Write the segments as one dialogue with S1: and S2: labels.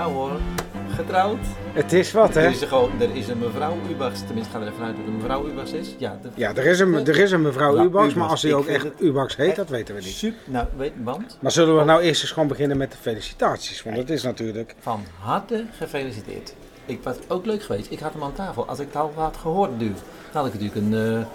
S1: Nou, getrouwd.
S2: Het is wat,
S1: Er
S2: hè?
S1: is, er gewoon, er is een mevrouw Ubachs, tenminste gaan we ervan uit dat er een mevrouw Ubachs is. Ja, de,
S2: Ja, er is een, er is een mevrouw
S1: Ja,
S2: Ubax, maar
S1: Nou, Ubax.
S2: als die
S1: Ik
S2: ook
S1: vind
S2: echt
S1: het
S2: Ubax heet,
S1: echt
S2: dat weten we niet.
S1: super. Nou, weet, want
S2: Maar zullen we nou eerst eens gewoon beginnen met de felicitaties? Want dat is natuurlijk...
S1: van harte gefeliciteerd. Ik was ook leuk geweest. Ik had hem aan tafel. Als ik het al had gehoord nu, dan had ik natuurlijk een, eh,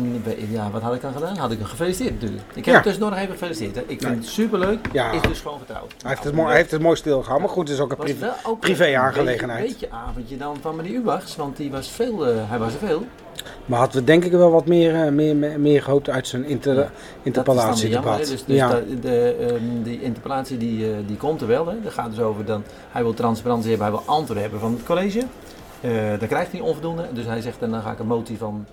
S1: een... Ja, wat had ik dan gedaan? Had ik hem gefeliciteerd natuurlijk. Ik heb
S2: Ja.
S1: hem tussendoor nog even gefeliciteerd. Hè. Ik vind het superleuk.
S2: Ja.
S1: Is dus gewoon getrouwd.
S2: Hij heeft het mooi, hij heeft het mooi stilgehouden, maar goed, het is ook een
S1: was
S2: privé,
S1: wel ook
S2: privé
S1: Een
S2: aangelegenheid.
S1: beetje, beetje avondje dan van meneer Ubachs, want die was veel, eh, hij was er veel.
S2: Maar hadden we denk ik wel wat meer, eh, meer, meer, meer gehoopt uit zijn inter,
S1: Dat is dan weer jammer, hè.
S2: interpellatiedebat.
S1: Dus, dus
S2: ja.
S1: dat- de, ehm, die interpellatie die, eh, die komt er wel. Hè. Dat gaat dus over dan, hij wil transparantie hebben, hij wil antwoorden hebben van het college. Eh daar krijgt hij onvoldoende. Dus hij zegt, en dan ga ik een motie van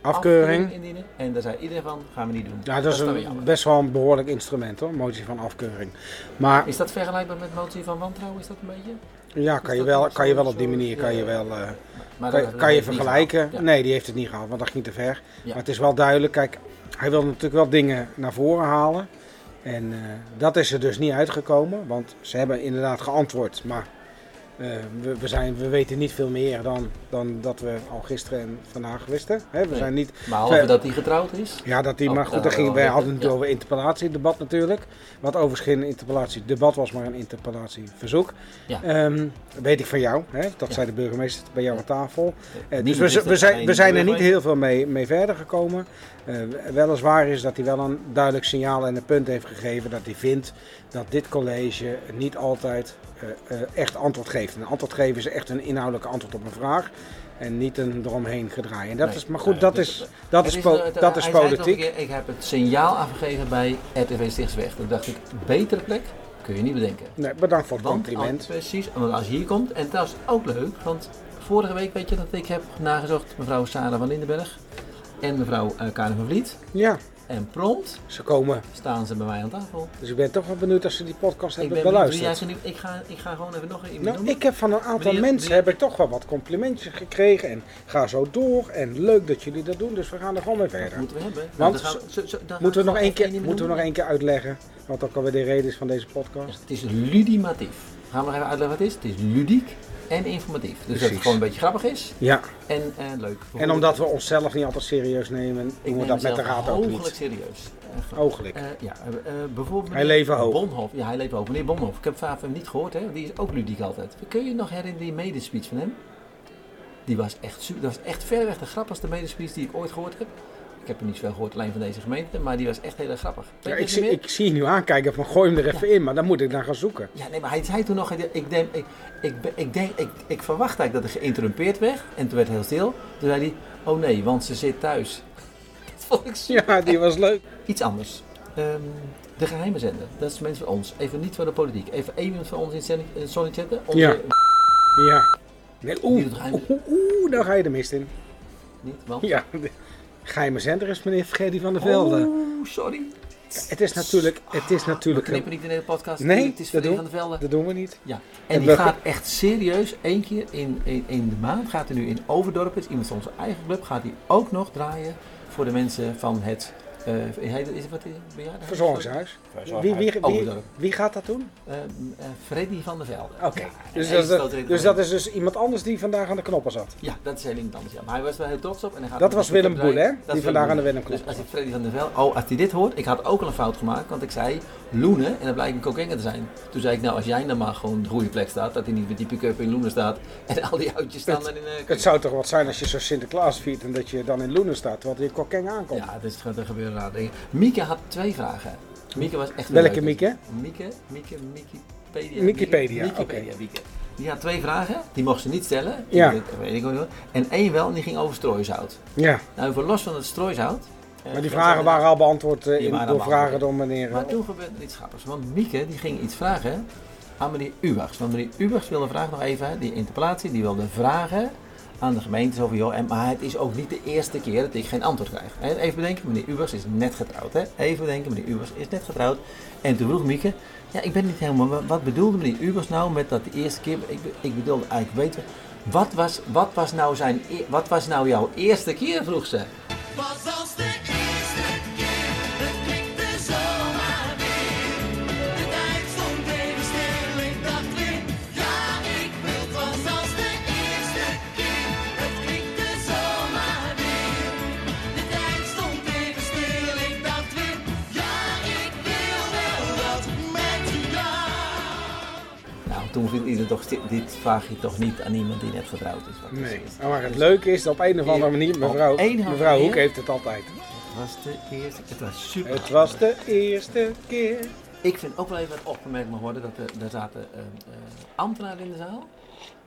S2: Afkeuring.
S1: indienen. En daar zei iedereen van, gaan we niet doen.
S2: Ja, dat is
S1: dan weer
S2: een,
S1: jammer.
S2: best wel een behoorlijk instrument hoor, motie van afkeuring. Maar
S1: Is dat vergelijkbaar met motie van wantrouwen? Is dat een beetje?
S2: ja, kan je
S1: dat
S2: wel,
S1: dan
S2: kan je wel
S1: zo-
S2: op die
S1: zo-
S2: manier kan
S1: ja.
S2: je wel, eh,
S1: Maar dat-
S2: kan,
S1: dat
S2: kan je
S1: heeft niet
S2: vergelijken.
S1: gehaald. Ja.
S2: Nee, die heeft het niet gehaald, want dat ging te ver.
S1: Ja.
S2: Maar het is wel duidelijk, kijk, hij wil natuurlijk wel dingen naar voren halen. En eh, dat is er dus niet uitgekomen, want ze hebben inderdaad geantwoord. Maar eh, we, we, zijn, we weten niet veel meer dan, dan dat we al gisteren en vandaag wisten. Hè, we
S1: Nee.
S2: zijn niet
S1: Maar halve
S2: Ver-
S1: dat hij getrouwd is.
S2: ja, dat die,
S1: Oh,
S2: maar goed,
S1: daar
S2: dat ging,
S1: wel
S2: wij
S1: weer-
S2: hadden het
S1: ja.
S2: over interpellatiedebat natuurlijk. Wat overigens geen interpellatiedebat was, maar een interpellatieverzoek.
S1: Ja.
S2: Ehm, weet ik van jou, hè? dat
S1: Ja.
S2: zei de burgemeester bij jou aan tafel. Eh,
S1: Niemand
S2: dus
S1: is
S2: we,
S1: er
S2: we, zijn, we
S1: geen
S2: zijn er niet
S1: burgemeester.
S2: heel veel mee, mee verder gekomen. Eh, weliswaar is dat hij wel een duidelijk signaal en een punt heeft gegeven dat hij vindt dat dit college niet altijd eh, eh, echt antwoord geeft. Een antwoord geven is echt een inhoudelijke antwoord op een vraag. En niet een eromheen gedraai. En dat
S1: Nee.
S2: is, maar goed,
S1: Nou ja,
S2: dat
S1: dus
S2: is,
S1: het-
S2: dat
S1: Het
S2: is, po-
S1: eh, het-
S2: dat is
S1: hij zei het nog
S2: politiek.
S1: een keer, ik heb het signaal afgegeven bij RTV Stichtsweg. Toen dacht ik, betere plek kun je niet bedenken.
S2: Nee, bedankt voor het
S1: Want
S2: compliment.
S1: Als, precies, want als je hier komt, en dat is ook leuk, want vorige week weet je dat ik heb nagezocht mevrouw Sarah van Lindenberg en mevrouw eh Karin van Vliet.
S2: Ja,
S1: En prompt
S2: ze komen.
S1: staan ze bij mij aan tafel.
S2: Dus ik ben toch wel benieuwd als ze die podcast
S1: Ik
S2: hebben
S1: ben benieuwd wie jij
S2: beluisterd.
S1: zo nu- ik ga, ik ga gewoon even nog iemand
S2: Nou,
S1: noemen.
S2: ik heb van een aantal
S1: Meneer-
S2: mensen
S1: meneer-
S2: heb ik toch wel wat complimentjes gekregen. En ga zo door. En leuk dat jullie dat doen. Dus we gaan er gewoon mee
S1: Dat
S2: verder.
S1: moeten we hebben. Nou,
S2: Want
S1: dan gaan we- zo- zo- dan gaan
S2: Moeten we, nog
S1: gewoon
S2: één keer,
S1: even
S2: moeten we nog
S1: noemen.
S2: één keer uitleggen wat ook alweer de reden is van deze podcast?
S1: Het is ludimatief. Gaan we nog even uitleggen wat het is? Het is ludiek en informatief. Dus dat
S2: Precies.
S1: het gewoon een beetje grappig is
S2: Ja,
S1: en eh, leuk.
S2: en omdat we onszelf niet altijd serieus nemen, doen we dat met de raad ook
S1: Hooglijk
S2: niet. Oh,
S1: serieus. Echt waar.
S2: Ooglijk.
S1: Eh, ja, eh, eh, bijvoorbeeld
S2: Hij
S1: meneer
S2: leeft hoog.
S1: Bonhoff. Ja, hij leeft hoog. Meneer Bonhoff, ik heb vaak hem niet gehoord, hè? die is ook ludiek altijd. Kun je je nog herinneren die medespeech van hem? Die was echt, su- dat was echt verreweg de grappigste medespeech die ik ooit gehoord heb. Ik heb hem niet veel gehoord, alleen van deze gemeente, maar die was echt heel erg grappig. Weet
S2: Ja,
S1: je
S2: ik,
S1: het
S2: zie,
S1: niet meer?
S2: ik zie je nu aankijken van gooi hem er even in, maar dan moet ik naar gaan zoeken.
S1: Ja, nee, maar hij zei toen nog, hij- ik, denk, ik, ik, ben- ik, denk, ik, ik verwacht eigenlijk dat hij geïnterrumpeerd werd. En toen werd hij heel stil. Toen zei hij, oh nee, want ze zit thuis. Dat vond ik zo.
S2: Ja, die was leuk.
S1: Iets anders. Ehm, de geheime zender, dat is mensen van ons. Even niet van de politiek. Even één iemand van ons in het zending- eh, zonnetje zetten. Onze,
S2: Ja. Ja. Nee,
S1: Die
S2: oeh,
S1: doet geheim.
S2: oeh, oeh, daar ga je de mist in.
S1: Niet, want...
S2: Ja, de geheime zender is meneer Freddy van der Velde.
S1: Oeh, sorry.
S2: Het is natuurlijk, het is natuurlijk
S1: We knippen niet in de hele podcast.
S2: Nee,
S1: het is
S2: dat
S1: Freddy
S2: doen-
S1: van de Velde.
S2: Dat doen we niet.
S1: Ja,
S2: En
S1: en die
S2: we-
S1: gaat echt serieus één keer in, in, in de maand, gaat hij nu in Overdorp, is iemand van onze eigen club, gaat hij ook nog draaien voor de mensen van het, eh, heet- is het wat bejaarden?
S2: Verzorgingshuis. Wie, wie, wie, wie,
S1: Overdorp.
S2: gaat dat doen?
S1: Ehm, eh, Freddy van der Velde.
S2: Oké.
S1: Ja,
S2: Dus,
S1: en hij
S2: dat,
S1: stoot erin.
S2: dus dat is dus iemand anders die vandaag aan de knoppen zat.
S1: Ja, dat is heel iemand anders. Ja. Maar hij was wel heel trots op. En hij gaat
S2: Dat
S1: nog
S2: was
S1: een keer
S2: Willem Boel, hè?
S1: draaien. Dat
S2: Die
S1: is
S2: vandaag aan de
S1: Boel.
S2: Willem-knop
S1: Dus als ik Freddy van der Velde, oh, als hij dit hoort, ik had ook al een fout gemaakt, want ik zei Loenen en dat blijkt een kokengen te zijn. Toen zei ik, nou, als jij nou maar gewoon op de goede plek staat, dat hij niet met die pick-up in Loenen staat en al die oudjes staan dan in... eh,
S2: Het zou toch wat zijn als je zo Sinterklaas viert en dat je dan in Loenen staat, terwijl je Kokeng aankomt.
S1: Ja, dus het er gebeuren raar dingen. Mieke had twee vragen. Mieke was echt...
S2: Welke
S1: leuk.
S2: Mieke?
S1: Mieke, Mieke, Wikipedia.
S2: Wikipedia,
S1: Mieke, Wikipedia, Mieke. Die had twee vragen, die mocht ze niet stellen.
S2: Ja.
S1: Die- dat weet ik ook niet hoor. En één wel, en die ging over strooisout.
S2: Ja,
S1: Nou, voor los van het strooisout... eh,
S2: maar die
S1: ging
S2: vragen
S1: ze-
S2: waren al beantwoord eh,
S1: Die
S2: in-
S1: waren
S2: door
S1: al
S2: vragen
S1: beantwoord.
S2: door meneer. eh,
S1: Maar toen gebeurde er iets grappigs. Want Mieke, die ging iets vragen aan meneer Ubachs. Want meneer Ubachs wilde vragen nog even, die interpellatie, die wilde vragen aan de gemeente over joh, en, maar het is ook niet de eerste keer dat ik geen antwoord krijg. En even bedenken, meneer Ubers is net getrouwd. Hè? Even bedenken, meneer Ubers is net getrouwd. En toen vroeg Mieke, ja, ik ben niet helemaal, wa- wat bedoelde meneer Ubers nou met dat de eerste keer, ik, be- ik bedoelde eigenlijk weten, wat was, wat, was nou zijn, e- wat was nou jouw eerste keer, vroeg ze.
S3: Was als de eerste keer, het knikte zomaar weer. De tijd stond even stil, ik dacht weer, ja, ik wil het was
S1: Nou, toen viel iedereen toch, stil, dit vraag je toch niet aan iemand die net getrouwd is. Wat is
S2: Nee. Nou,
S1: het?
S2: Maar het leuke is dat op een of andere manier, mevrouw,
S1: Op Oh. een of andere
S2: mevrouw Hoek
S1: manier.
S2: heeft het altijd.
S1: Het was de eerste, het was super.
S2: Het was de eerste keer.
S1: Ik vind ook wel even wat opgemerkt mag worden, dat er, er zaten eh, eh, ambtenaren in de zaal.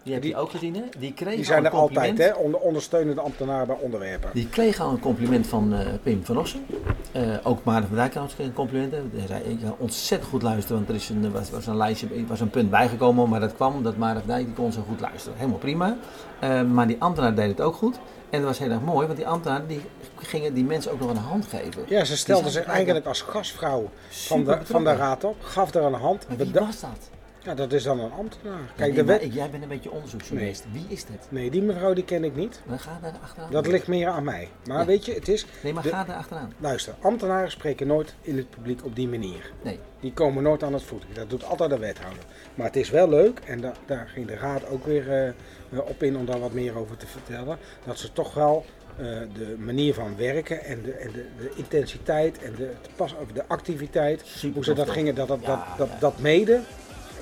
S1: Die heb je
S2: Die-
S1: ook gezien, hè? Die kregen
S2: Die zijn
S1: al
S2: er
S1: een compliment.
S2: altijd, hè? Onder, ondersteunende ambtenaren bij onderwerpen.
S1: Die kreeg al een compliment van eh, Pim van Ossen. Eh, ook Maarten van Dijk had ons een compliment. hè. Hij zei, ik ga ontzettend goed luisteren, want er is een, was, was een lijstje, er was een punt bijgekomen, maar dat kwam omdat Maarten van Dijk die kon zo goed luisteren. Helemaal prima. Eh, maar die ambtenaar deed het ook goed. En dat was heel erg mooi, want die ambtenaren die gingen die mensen ook nog een hand geven.
S2: Ja, ze stelde
S1: Die
S2: zich
S1: zijn
S2: eigenlijk als gastvrouw van
S1: Super
S2: de, van de
S1: betrokken.
S2: raad op, gaf er een hand.
S1: Maar wie
S2: beda-
S1: was dat?
S2: Ja, dat is dan een ambtenaar.
S1: Nee,
S2: Kijk, de
S1: maar
S2: wet.
S1: ik- jij bent een beetje onderzoeksjournalist. Wie is dit?
S2: Nee, die mevrouw die ken ik niet.
S1: Maar ga daar achteraan.
S2: Dat ligt meer aan mij. Maar
S1: Ja.
S2: weet je, het is.
S1: Nee, maar
S2: de-
S1: ga daar achteraan.
S2: Luister, ambtenaren spreken nooit in het publiek op die manier.
S1: Nee.
S2: Die komen nooit aan het voeten. Dat doet altijd de wethouder. Maar het is wel leuk, en da- daar ging de raad ook weer eh, eh, op in om daar wat meer over te vertellen. Dat ze toch wel eh, de manier van werken en de, en de, de intensiteit en de, het pas, of de activiteit,
S1: Super
S2: hoe ze
S1: tof,
S2: dat
S1: toch?
S2: gingen, dat dat,
S1: Ja,
S2: dat, dat,
S1: ja.
S2: dat mede,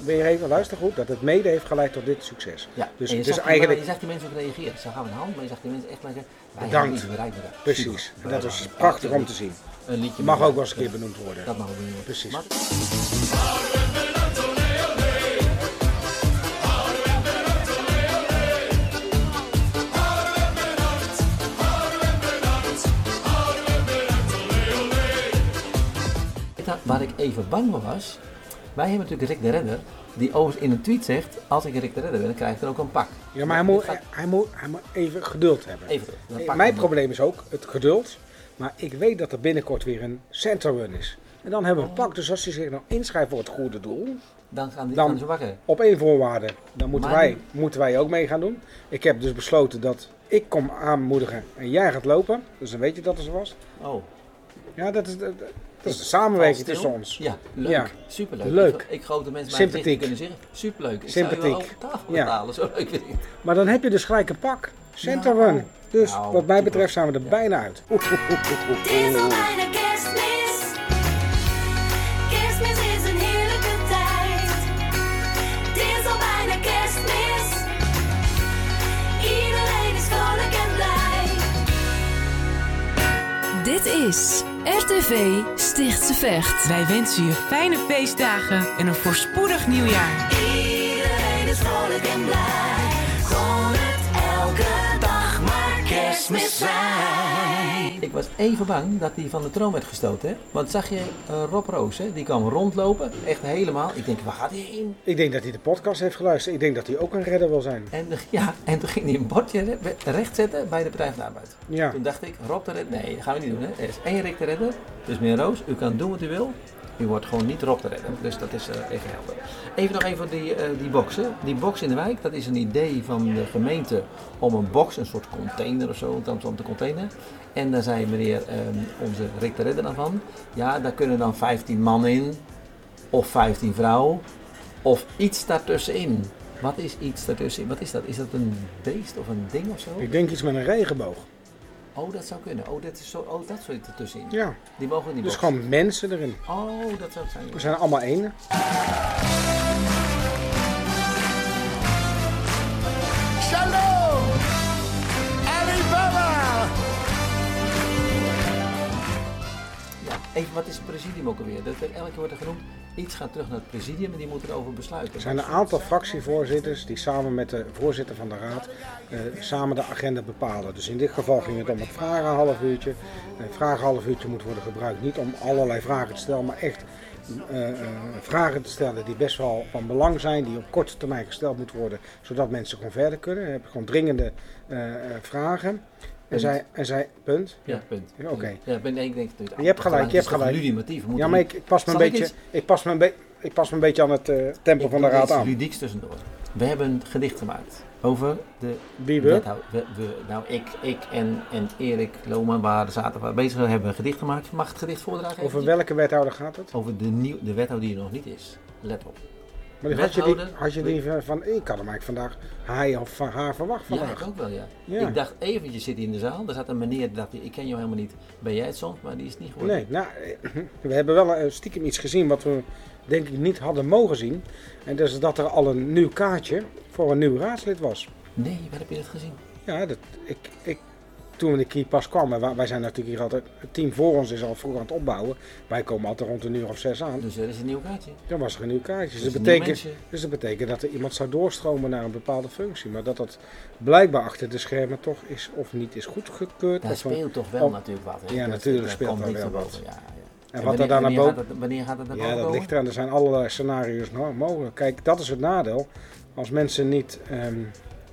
S2: weer even, luister goed, dat het mede heeft geleid tot dit succes.
S1: Ja,
S2: Dus-
S1: dus, en je,
S2: dus
S1: zag,
S2: eigenlijk-
S1: eigenlijk... je zag die mensen ook reageren. Ze gaven een hand, maar je zag die mensen echt maar zeggen, wij
S2: Bedankt.
S1: hebben iets bereikt met elkaar.
S2: Precies,
S1: Super.
S2: en dat is
S1: Bedankt.
S2: prachtig om te zien.
S1: Een liedje
S2: Mag
S1: met-
S2: ook wel eens een keer benoemd worden.
S1: Dat mag ook niet.
S2: Precies.
S1: Maar- Nou, Waar ik even bang voor was, wij hebben natuurlijk Rick de Redder, die overigens in een tweet zegt, als ik Rick de Redder ben, dan krijg ik er ook een pak.
S2: Ja, maar hij
S1: Dit
S2: moet,
S1: gaat-
S2: hij, moet, hij moet even geduld hebben.
S1: Even terug. Dan
S2: Hey,
S1: pak
S2: Mijn
S1: ik hem.
S2: probleem is ook het geduld. Maar ik weet dat er binnenkort weer een center run is. En dan hebben we
S1: Oh.
S2: een pak. Dus als je zich nou inschrijft voor het goede doel,
S1: Dan gaan die
S2: Dan-
S1: dan... ze wakker.
S2: op één voorwaarde, dan moeten,
S1: Maar-
S2: wij, moeten wij ook mee gaan doen. Ik heb dus besloten dat ik kom aanmoedigen en jij gaat lopen. Dus dan weet je dat er zo was.
S1: Oh.
S2: Ja, dat is, de- dat is de samenwerking
S1: Stil.
S2: tussen ons.
S1: Ja, leuk.
S2: Ja.
S1: Superleuk.
S2: Leuk.
S1: Ik, ik hoop dat mensen mij
S2: Sympathiek.
S1: tegen kunnen zeggen. Superleuk. Ik zou je wel
S2: Sympathiek.
S1: op tafel
S2: Ja.
S1: betalen. Zo leuk vind ik het.
S2: Maar dan heb je dus gelijk een pak. Center
S1: Nou.
S2: run. Dus
S1: Nou,
S2: wat mij
S1: super.
S2: betreft zijn we er
S1: Ja.
S2: bijna uit. Oeh, oeh, oeh, oeh, oeh.
S4: Het is al bijna kerstmis. Kerstmis is een heerlijke tijd. Het is al bijna kerstmis. Iedereen is vrolijk en blij.
S5: Dit is RTV Stichtse Vecht.
S6: Wij wensen je fijne feestdagen en een voorspoedig nieuwjaar.
S4: Iedereen is vrolijk en blij. Gewoon het elke dag maar kerstmis zijn.
S1: Ik was even bang dat hij van de troon werd gestoten. Hè? Want zag je eh, Rob Roos, hè? die kwam rondlopen. Echt helemaal. Ik denk, waar gaat hij heen?
S2: Ik denk dat hij de podcast heeft geluisterd. Ik denk dat hij ook een redder wil zijn.
S1: En, de- ja, en toen ging hij een bordje re- recht zetten bij de Partij van de Arbeid.
S2: Ja.
S1: Toen dacht ik, Rob de Redder. Nee, dat gaan we niet doen. Hè? Er is één Rick de Redder. Dus meneer Roos, u kan doen wat u wil. U wordt gewoon niet Rob de Redder. Dus dat is eh, even helder. Even nog even die, eh, die boxen. Die box in de wijk, dat is een idee van de gemeente om een box, een soort container of zo, om te- om te containen. En daar zei meneer, eh, onze Rick de Redder dan van, ja, daar kunnen dan 15 man in, of 15 vrouwen, of iets daartussenin. Wat is iets daartussenin? Wat is dat? Is dat een beest of een ding of zo?
S2: Ik denk iets met een regenboog.
S1: Oh, dat zou kunnen. Oh, dat is zo. Oh, dat soort ertussenin.
S2: Ja,
S1: Die mogen niet.
S2: dus gewoon mensen erin.
S1: Oh, dat zou het zijn.
S2: We zijn allemaal één.
S7: Shalom! Alibaba!
S1: Ja. Even, wat is het presidium ook alweer? Dat, elke keer wordt er genoemd. Iets gaat terug naar het presidium en die moeten erover besluiten.
S2: Er zijn een aantal fractievoorzitters die samen met de voorzitter van de raad eh, samen de agenda bepalen. Dus in dit geval ging het om het vragenhalf uurtje. Een vragenhalf uurtje moet worden gebruikt niet om allerlei vragen te stellen, maar echt eh, eh, vragen te stellen die best wel van belang zijn, die op korte termijn gesteld moeten worden, zodat mensen gewoon verder kunnen. Dan heb je gewoon dringende eh, eh, vragen. En
S1: Punt.
S2: zij, en zij, punt.
S1: Ja, punt.
S2: Ja, oké.
S1: Ja, ben ik denk natuurlijk.
S2: Je hebt gelijk, je hebt gelijk.
S1: Ludimatief. We
S2: Ja,
S1: moeten
S2: maar
S1: niet-
S2: ik, ik pas me een
S1: Zal ik
S2: beetje,
S1: iets?
S2: ik pas me een be- ik pas me een beetje aan het eh, tempo
S1: Ik
S2: van de
S1: doe
S2: raad
S1: iets
S2: aan.
S1: Ludieks tussendoor. We hebben een gedicht gemaakt over de
S2: Wie we?
S1: wethou- we, we- nou, ik, ik en, en Erik Loman waren zaterdag bezig. We hebben een gedicht gemaakt. Mag ik het gedicht voordragen?
S2: Over
S1: eventjes?
S2: welke wethouder gaat het?
S1: Over de, nieuw, de wethouder die er nog niet is. Let op.
S2: Maar had je, die,
S1: wethouder-
S2: had je die van, van, ik had hem eigenlijk vandaag, hij of van haar verwacht
S1: Ja,
S2: vandaag.
S1: ik ook wel, ja.
S2: Ja.
S1: Ik dacht eventjes zit hij in de zaal. Er zat een meneer, dacht ik, ik ken jou helemaal niet. Ben jij het soms? Maar die is het niet geworden.
S2: Nee, nou, we hebben wel eh, stiekem iets gezien wat we denk ik niet hadden mogen zien. En dat is dat er al een nieuw kaartje voor een nieuw raadslid was.
S1: Nee, waar heb je dat gezien?
S2: Ja, dat, ik, ik, toen ik hier pas kwam, en wa- wij zijn natuurlijk hier altijd, het team voor ons is al vroeg aan het opbouwen. Wij komen altijd rond een uur of zes aan.
S1: Dus er is een nieuw kaartje.
S2: Dan was er een nieuw kaartje. Dus
S1: Dus
S2: dat,
S1: een nieuw
S2: betekent,
S1: mensje.
S2: dus dat betekent dat er iemand zou doorstromen naar een bepaalde functie. Maar dat dat blijkbaar achter de schermen toch is of niet is goedgekeurd.
S1: Daar
S2: of van-
S1: speelt toch wel
S2: op-
S1: natuurlijk wat. hè?
S2: Ja,
S1: Dat-
S2: natuurlijk
S1: dat
S2: speelt
S1: komt
S2: daar
S1: niet
S2: wel
S1: van
S2: wat.
S1: boven, Ja, ja.
S2: en wat
S1: wanneer-
S2: er daar naar
S1: wanneer
S2: boven...
S1: gaat het- Wanneer gaat het naar boven
S2: Ja, dat
S1: komen?
S2: ligt eraan. Er zijn allerlei scenario's no- mogelijk. Kijk, dat is het nadeel. Als mensen niet, ehm,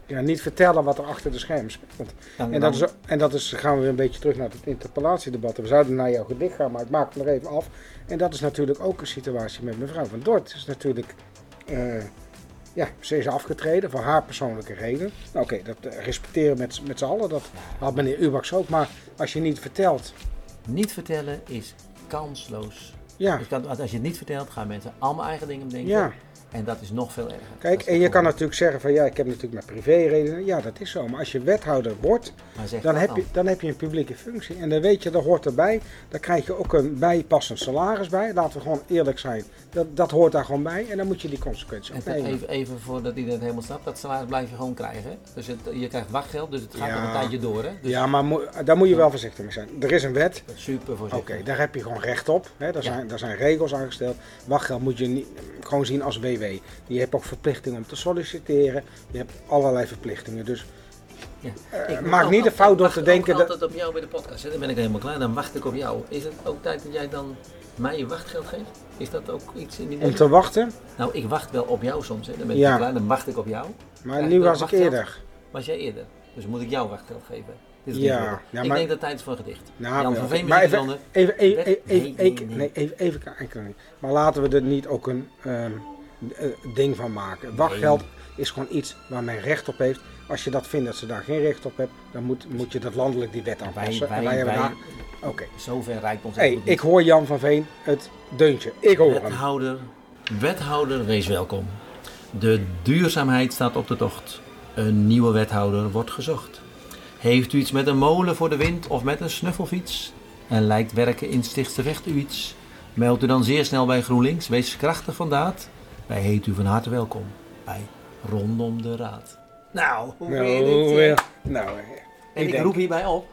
S2: ja, niet vertellen wat er achter de schermen speelt. En dat, is, en dat is, gaan we weer een beetje terug naar het interpellatiedebat. We zouden naar jouw gedicht gaan, maar ik maak het nog even af. En dat is natuurlijk ook een situatie met mevrouw van Dort. Is natuurlijk, eh, ja, ze is afgetreden voor haar persoonlijke reden. Nou, Oké, dat eh, respecteren met, z'n- met z'n allen, dat had meneer Ubaks ook. Maar als je niet vertelt,
S1: Niet vertellen is kansloos.
S2: ja,
S1: Dus dat- want als je het niet vertelt, gaan mensen allemaal eigen dingen bedenken.
S2: ja.
S1: En dat is nog veel erger. Dat
S2: Kijk,
S1: is
S2: en je kan
S1: gewoon-
S2: natuurlijk zeggen van ja, ik heb natuurlijk mijn privéredenen. Ja, dat is zo. Maar als je wethouder wordt,
S1: Maar zeg
S2: dan
S1: dat
S2: heb, je, dan heb je een publieke functie. En dan weet je, dat hoort erbij. Dan krijg je ook een bijpassend salaris bij. Laten we gewoon eerlijk zijn. Dat, dat hoort daar gewoon bij. En dan moet je die consequenties
S1: En
S2: ook
S1: te-
S2: nemen.
S1: even, even voordat iedereen het helemaal snapt, dat salaris blijf je gewoon krijgen. hè? Dus het, je krijgt wachtgeld, dus het gaat
S2: Ja.
S1: nog een tijdje door. Hè? Dus
S2: Ja, maar mo- daar moet je wel voorzichtig mee zijn. Er is een wet.
S1: super
S2: Oké,
S1: voorzichtig.
S2: daar heb je gewoon recht op. Hè? Daar,
S1: Ja.
S2: zijn, daar zijn regels aangesteld. Wachtgeld moet je niet, gewoon zien als WW. Je hebt ook verplichtingen om te solliciteren. Je hebt allerlei verplichtingen. Dus
S1: Ik
S2: Eh, maak
S1: ook
S2: niet de
S1: altijd-
S2: fout door
S1: wacht
S2: te
S1: ook
S2: denken dat-
S1: altijd op jou bij de podcast. hè? Dan ben ik helemaal klaar, dan wacht ik op jou. Is het ook tijd dat jij dan mij je wachtgeld geeft? Is dat ook iets in die
S2: om te wachten.
S1: Nou, ik wacht wel op jou soms. Hè? Dan ben ik
S2: Ja.
S1: klaar, dan wacht ik op jou.
S2: Maar
S1: Ja,
S2: nu
S1: dat
S2: was ik
S1: wachtgeld.
S2: eerder.
S1: Was jij eerder? Dus moet ik jou wachtgeld geven? Dit is
S2: Ja,
S1: niet goed.
S2: ja,
S1: ik
S2: maar-
S1: denk dat tijd is voor een gedicht.
S2: Nou,
S1: Jan
S2: wel.
S1: van Veen
S2: maar
S1: is
S2: even,
S1: even...
S2: even, even,
S1: Nee, nee,
S2: even, even, even,
S1: nee.
S2: nee, even, even, enkel niet. Maar laten we er niet ook een ehm, eh, ding van maken. Wachtgeld is gewoon iets waar men recht op heeft. Als je dat vindt dat ze daar geen recht op hebben, dan moet, moet je dat landelijk die wet
S1: Wij,
S2: aanpassen.
S1: wij,
S2: En wij
S1: wij,
S2: hebben daar- Oké.
S1: zover rijkt ons
S2: Hey,
S1: invloed niet.
S2: ik hoor Jan van Veen het deuntje. Ik hoor hem.
S1: Wethouder, wethouder, wees welkom. De duurzaamheid staat op de tocht. Een nieuwe wethouder wordt gezocht. Heeft u iets met een molen voor de wind of met een snuffelfiets? En lijkt werken in Stichtsevecht u iets? Meld u dan zeer snel bij GroenLinks. Wees krachtig van daad. Wij heten u van harte welkom bij Rondom de Raad. Nou, hoe
S2: Nou,
S1: vind je dit? hè?
S2: eh, nou, eh,
S1: En ik,
S2: denk-
S1: roep hierbij op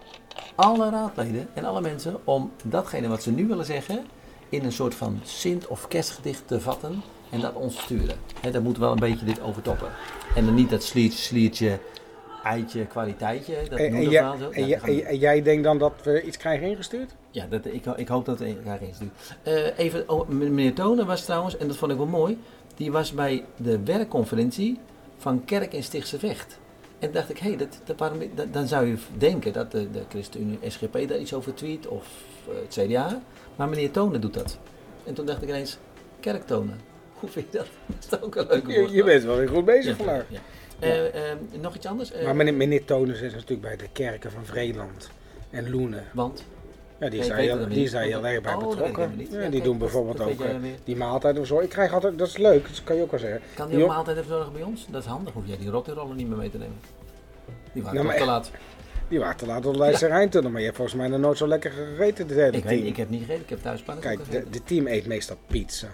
S1: alle raadleden en alle mensen om datgene wat ze nu willen zeggen in een soort van Sint- of kerstgedicht te vatten en dat ons te sturen. Hè, dat moet wel een beetje dit overtoppen. En dan niet dat sliertje, sliertje, eitje, kwaliteitje. Dat
S2: en,
S1: noemt
S2: en,
S1: het
S2: jij-
S1: wel zo.
S2: en
S1: Ja,
S2: jij-
S1: dat gaan we
S2: en- en jij denkt dan dat we iets krijgen ingestuurd?
S1: ja, dat, ik, ik hoop dat het daar eens doet. Eh, even, oh, m- meneer Tonen was trouwens, en dat vond ik wel mooi, die was bij de werkconferentie van Kerk in Stichtse Vecht. En dacht ik, hé, dat, dat, waarom, dat- dan zou je denken dat de, de ChristenUnie SGP daar iets over tweet of eh, het CDA. Maar meneer Tonen doet dat. En toen dacht ik ineens, Kerk Tonen. Hoe vind je dat? Dat is ook een leuke
S2: Je, je
S1: woordgrap.
S2: bent wel weer goed bezig
S1: Ja,
S2: vandaag.
S1: ja. Eh, eh, nog iets anders? Eh,
S2: Maar meneer, meneer Tonus is natuurlijk bij de kerken van Vreeland en Loenen.
S1: Want?
S2: Ja, die
S1: Ja,
S2: is
S1: ik
S2: daar
S1: weet
S2: heel,
S1: het
S2: die
S1: niet.
S2: is daar heel erg bij
S1: Oh, dat weet ik
S2: betrokken.
S1: helemaal niet.
S2: Ja,
S1: Ja,
S2: die
S1: kijk,
S2: doen
S1: dat-
S2: bijvoorbeeld
S1: dat weet
S2: ook
S1: jij
S2: eh,
S1: weer.
S2: die maaltijden of zo. Ik krijg altijd, dat is leuk, dat kan je ook wel zeggen.
S1: Kan die
S2: Jo-
S1: een maaltijd even zorgen bij ons? Dat is handig, hoef jij die rotterollen niet meer mee te nemen. Die waren
S2: Nou,
S1: toch
S2: maar-
S1: te laat.
S2: Die waren te laat op de lijst ja. Rijntunnel, maar je hebt volgens mij nog nooit zo lekker gegeten dit hele
S1: Ik,
S2: team.
S1: weet, ik heb niet gegeten, ik heb thuis pannenkoeken
S2: Kijk, de,
S1: gegeten.
S2: de team eet meestal pizza,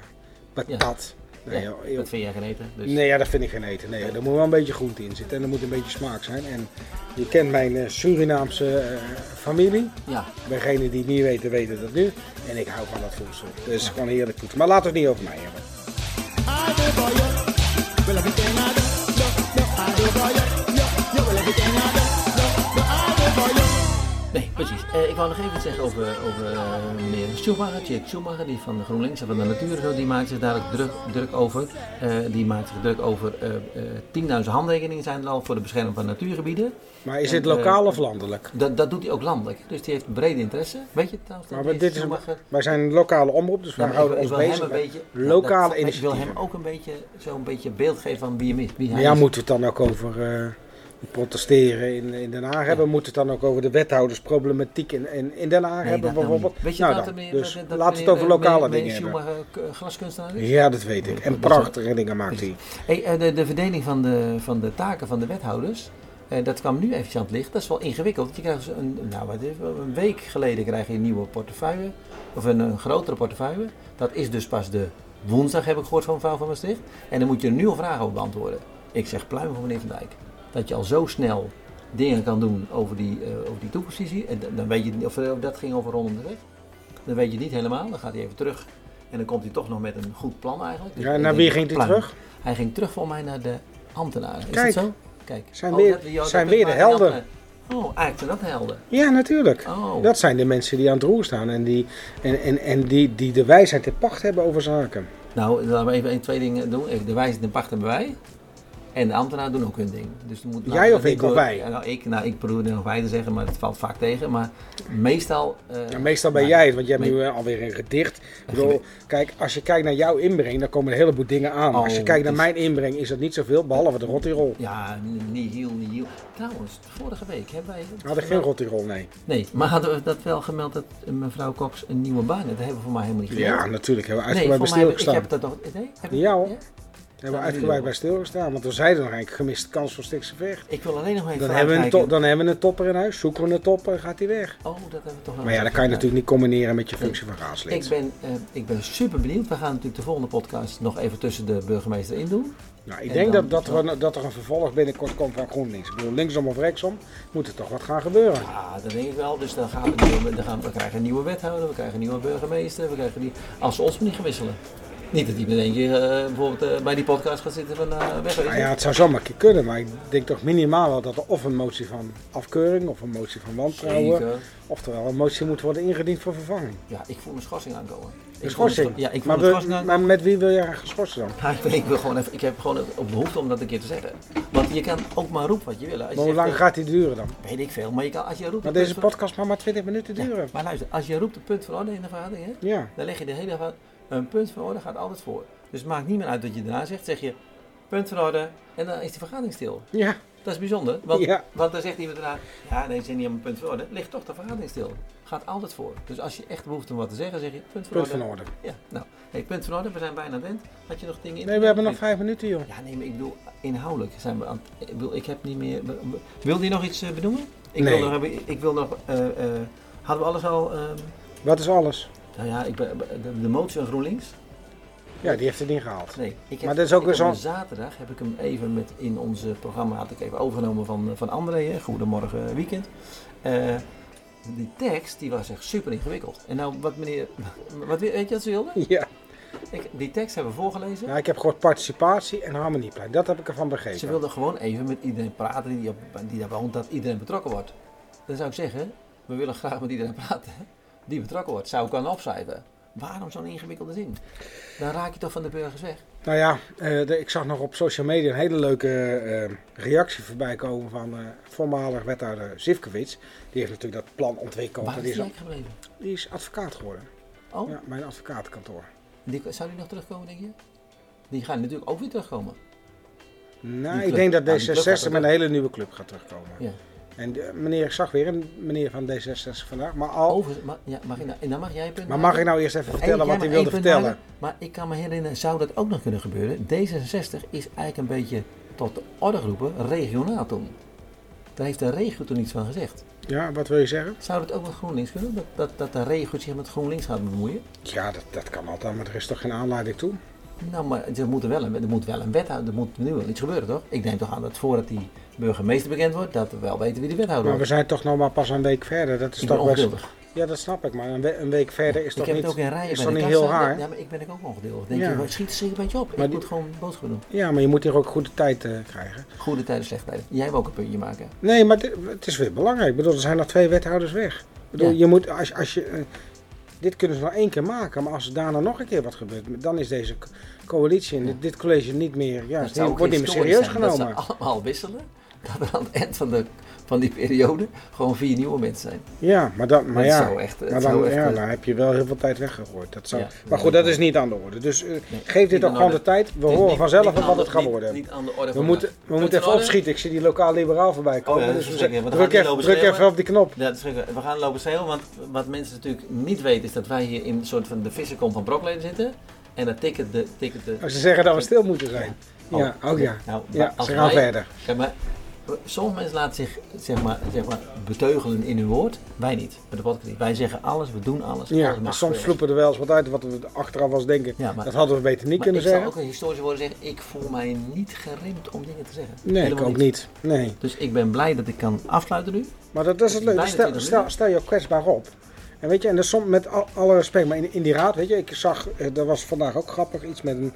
S2: patat. Nee,
S1: Ja,
S2: joh, joh.
S1: dat vind jij geen eten. Dus
S2: nee ja, dat vind ik geen eten. Nee, er moet wel een beetje groente in zitten en er moet een beetje smaak zijn. En je kent mijn eh, Surinaamse eh, familie.
S1: ja,
S2: Degenen die het niet weten, weten dat nu. En ik hou van dat voedsel. Dus gewoon heerlijk voedsel. Maar laten we het niet over mij hebben.
S1: nee, precies. Eh, ik wou nog even iets zeggen over, over eh, meneer Schumacher, Tjeerd Schumacher, die van de GroenLinks en van de Natuur, en zo, die maakt zich daar ook druk, druk over. Eh, die maakt zich druk over eh, eh, 10.000 handtekeningen zijn er al voor de bescherming van natuurgebieden.
S2: Maar is
S1: En,
S2: dit lokaal
S1: eh,
S2: of landelijk?
S1: Dat, dat doet hij ook landelijk, dus die heeft brede interesse. Weet je trouwens, dat
S2: Maar we-
S1: meneer
S2: dit is een-
S1: Schumacher-
S2: wij zijn een lokale omroep, dus wij
S1: Ja, Nou, maar
S2: houden
S1: ik-
S2: ons
S1: ik wil hem
S2: bezig
S1: een
S2: met
S1: beetje-
S2: lokale
S1: dat- Ik wil
S2: initiatieven.
S1: hem ook een beetje zo'n beetje beeld geven van wie hem is. Wie
S2: Maar
S1: hij
S2: ja,
S1: is.
S2: moeten we het dan ook over eh, protesteren in, in Den Haag hebben. We moeten het dan ook over de wethoudersproblematiek in, in, in Den Haag
S1: Nee,
S2: hebben
S1: dat nou
S2: bijvoorbeeld.
S1: niet. Weet je
S2: nou
S1: dat
S2: dan,
S1: er meer-
S2: dus
S1: dat- dat
S2: laten we het
S1: meneer,
S2: over
S1: eh,
S2: lokale
S1: meneer-
S2: dingen hebben.
S1: meneer Schumacher, eh, glaskunstenaar is?
S2: Ja, dat weet ik. En
S1: Dat is-
S2: prachtige dingen maakt hij.
S1: Hey, eh, de, de verdeling van de, van de taken van de wethouders, eh, dat kwam nu eventjes aan het licht. Dat is wel ingewikkeld. want Je krijgt dus een, nou, wat is het, een week geleden krijg je een nieuwe portefeuille, of een, een grotere portefeuille. Dat is dus pas de woensdag, heb ik gehoord van mevrouw van Maastricht. En dan moet je er nu al vragen over beantwoorden. Ik zeg pluim voor meneer Van Dijk. Dat je al zo snel dingen kan doen over die, eh, over die toekomstvisie. En dan- dan weet je niet of, eh, of dat ging over rondom de weg. Dan weet je het niet helemaal. Dan gaat hij even terug. En dan komt hij toch nog met een goed plan eigenlijk. Dus
S2: Ja,
S1: ik
S2: naar
S1: denk,
S2: wie ging hij
S1: pluim.
S2: terug?
S1: Hij ging terug voor mij naar de ambtenaren. Is
S2: Kijk,
S1: dat zo? Kijk. Oh,
S2: zijn weer-
S1: dat- ja, dat
S2: zijn
S1: is
S2: weer de
S1: waar
S2: helden.
S1: ambtenaren- Oh, eigenlijk zijn dat de helden.
S2: Ja, natuurlijk.
S1: Oh.
S2: Dat zijn de mensen die aan het roer staan en die, en, en, en die, die de wijsheid te pacht hebben over zaken.
S1: Nou, laten we even één, twee dingen doen. Even de wijze en pacht hebben wij. En de ambtenaren doen ook hun ding. Dus dan moet,
S2: Jij
S1: laten we
S2: of
S1: dat
S2: ik
S1: niet
S2: of
S1: door-
S2: wij?
S1: Ja, Nou, ik, nou, ik probeer er nog wij te zeggen, maar het valt vaak tegen. Maar meestal... eh,
S2: Ja, meestal ben
S1: nou,
S2: jij het, want jij hebt
S1: me-
S2: nu eh, alweer een gedicht. Ik bedoel, kijk, als je kijkt naar jouw inbreng, dan komen een heleboel dingen aan.
S1: Oh,
S2: Als je kijkt naar
S1: is-
S2: mijn inbreng, is dat niet zoveel, behalve de rottirol.
S1: Ja, niet heel, niet heel. Trouwens, vorige week hebben wij...
S2: We hadden geen rottirol, nee.
S1: Nee, maar hadden we dat wel gemeld dat eh, mevrouw Cox een nieuwe baan heeft? Dat hebben we voor mij helemaal niet gemeld.
S2: Ja, natuurlijk hebben we
S1: nee,
S2: uitgebreid
S1: voor mij
S2: bij
S1: heb ik, ik
S2: stilgestaan.
S1: heb dat nog... Nee, heb ik-
S2: Ja, hoor.
S1: staat
S2: Hebben we
S1: nu
S2: uitgebreid
S1: ook.
S2: bij stilgestaan, want we zeiden nog eigenlijk gemiste kans voor Stikse Vecht.
S1: Ik wil alleen nog even
S2: Dan hebben, we een
S1: uitreiken.
S2: top, dan hebben we een topper in huis, zoeken we een topper, gaat hij weg.
S1: Oh, dat hebben we toch nog
S2: Maar ja, dat
S1: niet
S2: kan je
S1: gedaan.
S2: natuurlijk niet combineren met je functie van raadslid.
S1: Ik ben, eh, ik ben super benieuwd. We gaan natuurlijk de volgende podcast nog even tussen de burgemeester in doen.
S2: Nou, ik
S1: En
S2: denk
S1: dan-
S2: dat, dat, we, dat er een vervolg binnenkort komt van GroenLinks. Ik bedoel, linksom of rechtsom moet er toch wat gaan gebeuren.
S1: Ja, dat denk ik wel. Dus dan gaan we, nieuwe- dan gaan we, we krijgen een nieuwe wethouder, we krijgen een nieuwe burgemeester. We krijgen die, als ze ons maar niet gaan wisselen. Niet dat die met eentje eh, bijvoorbeeld eh, bij die podcast gaat zitten van eh weg.
S2: Nou ja, het zou zomaar een keer kunnen, maar ik denk toch minimaal wel dat er of een motie van afkeuring of een motie van wantrouwen,
S1: Zeker.
S2: oftewel een motie moet worden ingediend voor vervanging.
S1: Ja, ik voel mijn schorsing aankomen. Ik voel
S2: Een
S1: mijn
S2: schorsing.
S1: schor- Ja, ik voel
S2: maar,
S1: mijn
S2: we-
S1: schorsing aankomen.
S2: maar met wie wil jij gaan geschorst dan?
S1: Ja, ik, weet- ik wil gewoon even, ik heb gewoon een- op behoefte om dat een keer te zeggen. Want je kan ook maar roepen wat je wil. Als je
S2: Maar hoe
S1: zegt,
S2: lang
S1: eh,
S2: gaat die duren dan?
S1: Weet ik veel, maar je kan, als je roept...
S2: Maar
S1: het
S2: deze
S1: punt
S2: podcast mag maar 20 minuten
S1: van-
S2: duren.
S1: Maar luister, als je roept een punt van orde in de vergadering, hè,
S2: Ja,
S1: dan leg je de hele van Een punt van orde gaat altijd voor. Dus het maakt niet meer uit wat je daarna zegt. Zeg je, punt van orde, en dan is de vergadering stil.
S2: ja.
S1: Dat is bijzonder, want,
S2: Ja.
S1: want dan zegt iemand daarna... Ja, nee, ze zijn niet aan mijn punt van orde. Ligt toch de vergadering stil. Gaat altijd voor. Dus als je echt behoefte om wat te zeggen, zeg je, punt van
S2: punt
S1: orde.
S2: van orde.
S1: Ja, nou, hey, punt van orde, we zijn bijna wend. Had je nog dingen in?
S2: Nee, we hebben nog vijf minuten joh.
S1: Ja, nee, maar ik bedoel, inhoudelijk zijn we aan het- Ik, bedoel, ik heb niet meer... Wilde je nog iets eh, benoemen? Ik
S2: Nee.
S1: wil nog... hebben- Ik wil nog eh, eh, hadden we alles al... ehm,
S2: Wat is alles?
S1: nou ja, ik, ben- de, de motie van GroenLinks.
S2: Ja, die heeft het niet gehaald.
S1: Nee, ik heb,
S2: Maar dat is ook
S1: ik
S2: weer
S1: heb hem
S2: zo'n-
S1: Zaterdag heb ik hem even met in ons eh, programma had ik even overgenomen van, eh, van André. hè. Goedemorgen eh, weekend. Eh, die tekst die was echt super ingewikkeld. En nou, wat meneer. Wat, weet je wat ze wilde?
S2: Ja.
S1: Ik, die tekst hebben we voorgelezen.
S2: Nou, ik heb gehoord participatie en harmonieplein. Dat heb ik ervan
S1: Ze
S2: begrepen.
S1: wilden gewoon even met iedereen praten die, op, die daar woont, dat iedereen betrokken wordt. Dan zou ik zeggen, we willen graag met iedereen praten die betrokken wordt. Zou ik dan opschrijven. Waarom zo'n ingewikkelde zin? Dan raak je toch van de burgers weg.
S2: Nou ja, eh, de- ik zag nog op social media een hele leuke eh, reactie voorbij komen van eh, voormalig wethouder Zivkovic. Die heeft natuurlijk dat plan ontwikkeld.
S1: Waar
S2: en
S1: is
S2: die,
S1: die
S2: is,
S1: eigenlijk gebleven?
S2: die is advocaat geworden.
S1: Oh,
S2: Ja, mijn advocatenkantoor.
S1: die, zou die nog terugkomen, denk je? Die gaan natuurlijk ook weer terugkomen.
S2: Oh. Nou,
S1: club.
S2: ik denk dat
S1: Ja, die club gaat
S2: D66
S1: er
S2: met een
S1: door.
S2: hele nieuwe club gaat terugkomen.
S1: Ja.
S2: En eh, meneer, ik zag weer een meneer van D66 vandaag. Maar, al,
S1: Overigens, ma- ja, mag ik nou, en dan mag jij een punt
S2: maar
S1: maken?
S2: mag ik nou eerst even
S1: Eén-
S2: vertellen
S1: jij
S2: wat hij
S1: mag één
S2: wilde
S1: punt
S2: vertellen?
S1: maken, maar ik kan me herinneren, zou dat ook nog kunnen gebeuren? D66 is eigenlijk een beetje tot de orde geroepen, regionaal toen. Daar heeft de regio toen iets van gezegd.
S2: Ja, wat wil je zeggen?
S1: Zou dat ook met GroenLinks kunnen? Dat, dat, dat de regio zich met GroenLinks gaat bemoeien?
S2: Ja, dat, dat kan altijd, maar er is toch geen aanleiding toe?
S1: Nou, maar er moet er wel een, er moet wel een wethouder, er moet nu wel iets gebeuren, toch? Ik neem toch aan dat voordat die burgemeester bekend wordt, dat we wel weten wie de wethouder
S2: Maar we
S1: wordt.
S2: zijn toch nog maar pas een week verder. Dat is
S1: Ik ben
S2: toch best...
S1: ongeduldig.
S2: Ja, dat snap ik, maar een, we- een week verder is
S1: Ik
S2: toch
S1: heb
S2: niet,
S1: het ook in rijen
S2: is
S1: bij
S2: toch
S1: de
S2: niet
S1: kassa.
S2: heel raar?
S1: Ja, maar ik ben ik ook ongeduldig. Denk
S2: Ja.
S1: je, wat schiet er zich een beetje op? ik
S2: Maar die-
S1: moet gewoon boodschappen doen.
S2: Ja, maar je moet hier ook goede tijd eh, krijgen.
S1: Goede tijden, slechte tijden. Jij wil ook een puntje maken.
S2: Nee, maar dit- het is weer belangrijk. Ik bedoel, er zijn nog twee wethouders weg. Ik bedoel,
S1: Ja.
S2: je moet, als, als je, eh, dit kunnen ze nog één keer maken, maar als er daarna nog een keer wat gebeurt, dan is deze co- coalitie en dit- dit college niet meer, ja, het
S1: zou ook
S2: wordt niet meer
S1: historisch
S2: serieus
S1: zijn
S2: genomen.
S1: Dat ze allemaal wisselen. dat er aan het eind van, de, van die periode gewoon vier nieuwe mensen zijn.
S2: Ja, maar, dat, maar
S1: Het
S2: ja,
S1: zou echt- het
S2: maar
S1: zou
S2: dan,
S1: echt,
S2: ja,
S1: eh,
S2: dan heb je wel heel veel tijd weggegooid. Dat zou,
S1: Ja,
S2: maar
S1: dat
S2: goed,
S1: denk
S2: dat
S1: ik
S2: is niet aan de orde. Dus eh,
S1: niet
S2: geef dit ook
S1: aan de
S2: gewoon de
S1: orde.
S2: tijd. We
S1: Het is
S2: horen
S1: niet-
S2: vanzelf
S1: niet aan
S2: wat
S1: de-
S2: het gaat
S1: niet-
S2: worden.
S1: Niet aan de orde
S2: we
S1: van
S2: moeten,
S1: dag.
S2: we
S1: Het
S2: moeten
S1: is
S2: even
S1: orde. Oh
S2: opschieten. Ik zie die lokaal liberaal voorbij komen.
S1: ja, dat
S2: dus
S1: is
S2: we
S1: zeker. We gaan
S2: druk
S1: niet
S2: even,
S1: lopen
S2: druk even
S1: schreeuwen.
S2: op die knop.
S1: Ja, dat is gek. we gaan lopen zeil, want wat mensen natuurlijk niet weten is dat wij hier in een soort van de vissenkom van Brockleden zitten. En dat tikken de... Tikken de
S2: Als ze zeggen dat we stil moeten zijn.
S1: Oh.
S2: Ja, ook ja.
S1: Nou,
S2: Ja,
S1: als
S2: ze gaan
S1: wij-
S2: verder.
S1: Ja, maar sommige mensen laten zich zeg maar, zeg maar, beteugelen in hun woord. Wij niet. Met de podcast niet. Wij zeggen alles, we doen alles.
S2: Ja,
S1: alles
S2: maar
S1: mag
S2: soms
S1: gebeuren.
S2: vloepen er wel eens wat uit wat we achteraf was denken.
S1: Ja, maar-
S2: dat hadden we beter niet
S1: Maar
S2: kunnen
S1: ik zou
S2: zeggen.
S1: ook een historische woorden zeggen. Ik voel mij niet geremd om dingen te zeggen.
S2: Nee, ik
S1: Helemaal
S2: ook niet. Nee.
S1: Dus ik ben blij dat ik kan afsluiten nu.
S2: Maar dat, dat is het
S1: Bijna
S2: leuke. Stel,
S1: 20
S2: stel,
S1: minuten.
S2: stel je ook kwetsbaar op. En weet je, en dat soms met al- alle respect, maar in, in die raad, weet je, ik zag, eh, dat was vandaag ook grappig, iets met een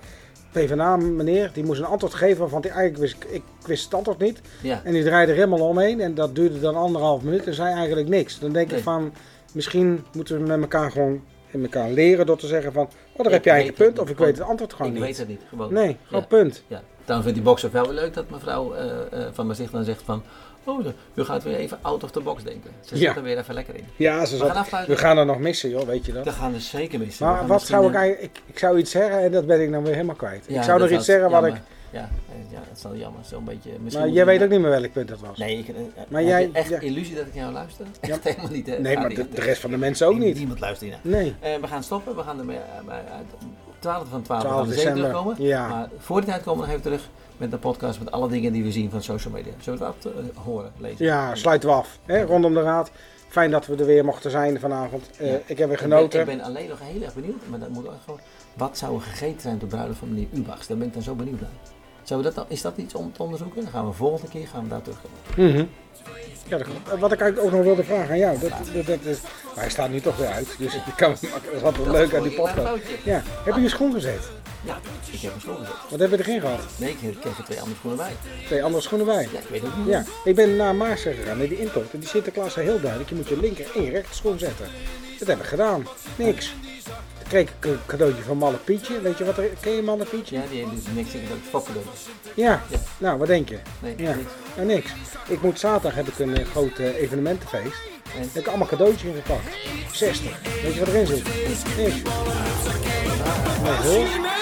S2: PvdA-meneer, die moest een antwoord geven, want die eigenlijk wist, ik- ik wist het antwoord niet.
S1: Ja.
S2: En die draaide er helemaal omheen en dat duurde dan anderhalf minuut en zei eigenlijk niks. Dan denk ik
S1: Nee.
S2: van, misschien moeten we met elkaar gewoon in elkaar leren door te zeggen van, oh, daar
S1: Ik
S2: heb je eigenlijk
S1: weet
S2: een
S1: het
S2: punt, of
S1: niet.
S2: ik weet het antwoord gewoon
S1: ik
S2: niet.
S1: weet het niet. Gewoon.
S2: Nee, gewoon
S1: Ja.
S2: punt.
S1: Ja, dan vindt die boxer wel weer leuk dat mevrouw eh, eh, van Maastricht dan zegt van... Oh, de- u gaat weer even out of the box denken. Ze
S2: Ja.
S1: zit er weer even lekker in.
S2: Ja, ze
S1: We gaan
S2: zat,
S1: afsluiten.
S2: we gaan er nog missen, joh, weet je dat?
S1: Dat gaan we zeker missen. We
S2: Maar
S1: gaan
S2: wat
S1: misschien,
S2: zou ik
S1: eh,
S2: eigenlijk... Ik, ik zou iets zeggen en dat ben ik dan weer helemaal kwijt.
S1: ja,
S2: ik zou
S1: dat
S2: nog iets
S1: was
S2: zeggen wat ik...
S1: jammer. Ja, eh, ja, dat is wel jammer. Zo'n beetje... Misschien
S2: Maar
S1: moet
S2: jij
S1: je-
S2: weet ook niet meer welk punt dat was.
S1: Nee, ik, eh,
S2: Maar
S1: heb
S2: jij-
S1: je echt
S2: ja.
S1: illusie dat ik naar jou luister?
S2: Ja.
S1: Echt helemaal niet, hè?
S2: Nee,
S1: Gaat
S2: maar de,
S1: niet.
S2: de rest van de mensen ook niet.
S1: Niemand luistert hiernaar.
S2: Nee.
S1: Eh, we gaan stoppen. We gaan ermee eh, bij- uit- 12 van 12,
S2: 12
S1: gaan we zeker
S2: december.
S1: terugkomen.
S2: Ja.
S1: Maar voor die tijd komen we nog even terug met de podcast met alle dingen die we zien van social media. Zullen we dat eh, horen, lezen?
S2: Ja, sluiten we af. Hè? Rondom de raad. Fijn dat we er weer mochten zijn vanavond. Eh,
S1: Ja.
S2: Ik heb weer
S1: Ik ben,
S2: genoten.
S1: ik ben alleen nog heel erg benieuwd, maar dat moet ook gewoon. Wat zou er gegeten zijn op de bruiloft van meneer Ubachs? Daar ben ik dan zo benieuwd naar. Zou dat dan, is dat iets om te onderzoeken? Dan gaan we volgende keer gaan we daar terugkomen.
S2: Mhm. ja, dat klopt. Eh, wat ik eigenlijk ook nog wilde vragen aan jou. Dat, dat, dat is, maar hij staat nu toch weer uit. Dus ik kan, dat is altijd leuk aan die
S1: gewoon een klein
S2: podcast.
S1: foutje.
S2: Ja. Heb je je schoen gezet?
S1: Ja, ik heb een school gezet.
S2: Wat heb je erin gehad?
S1: Nee, ik kreeg er twee andere schoenen bij.
S2: Twee andere schoenen bij.
S1: Ja, ik weet ook niet.
S2: Ja, ik ben naar Maarsen gegaan, naar die intocht. En die Sinterklaas zei heel duidelijk, je moet je linker en je rechter schoen zetten. Dat heb ik gedaan. Niks. Toen kreeg ik een cadeautje van Malle Pietje. Weet je wat er... Ken je Malle Pietje?
S1: Ja, die heeft dus niks in het fokken
S2: Ja.
S1: Ja.
S2: Nou, wat denk je?
S1: Nee,
S2: Ja.
S1: niks.
S2: Nou, niks. Ik moet zaterdag heb ik een eh, groot eh, evenementenfeest. En heb ik allemaal cadeautjes ingepakt. 60. Weet je wat erin zit? Niks. Nou, hoor.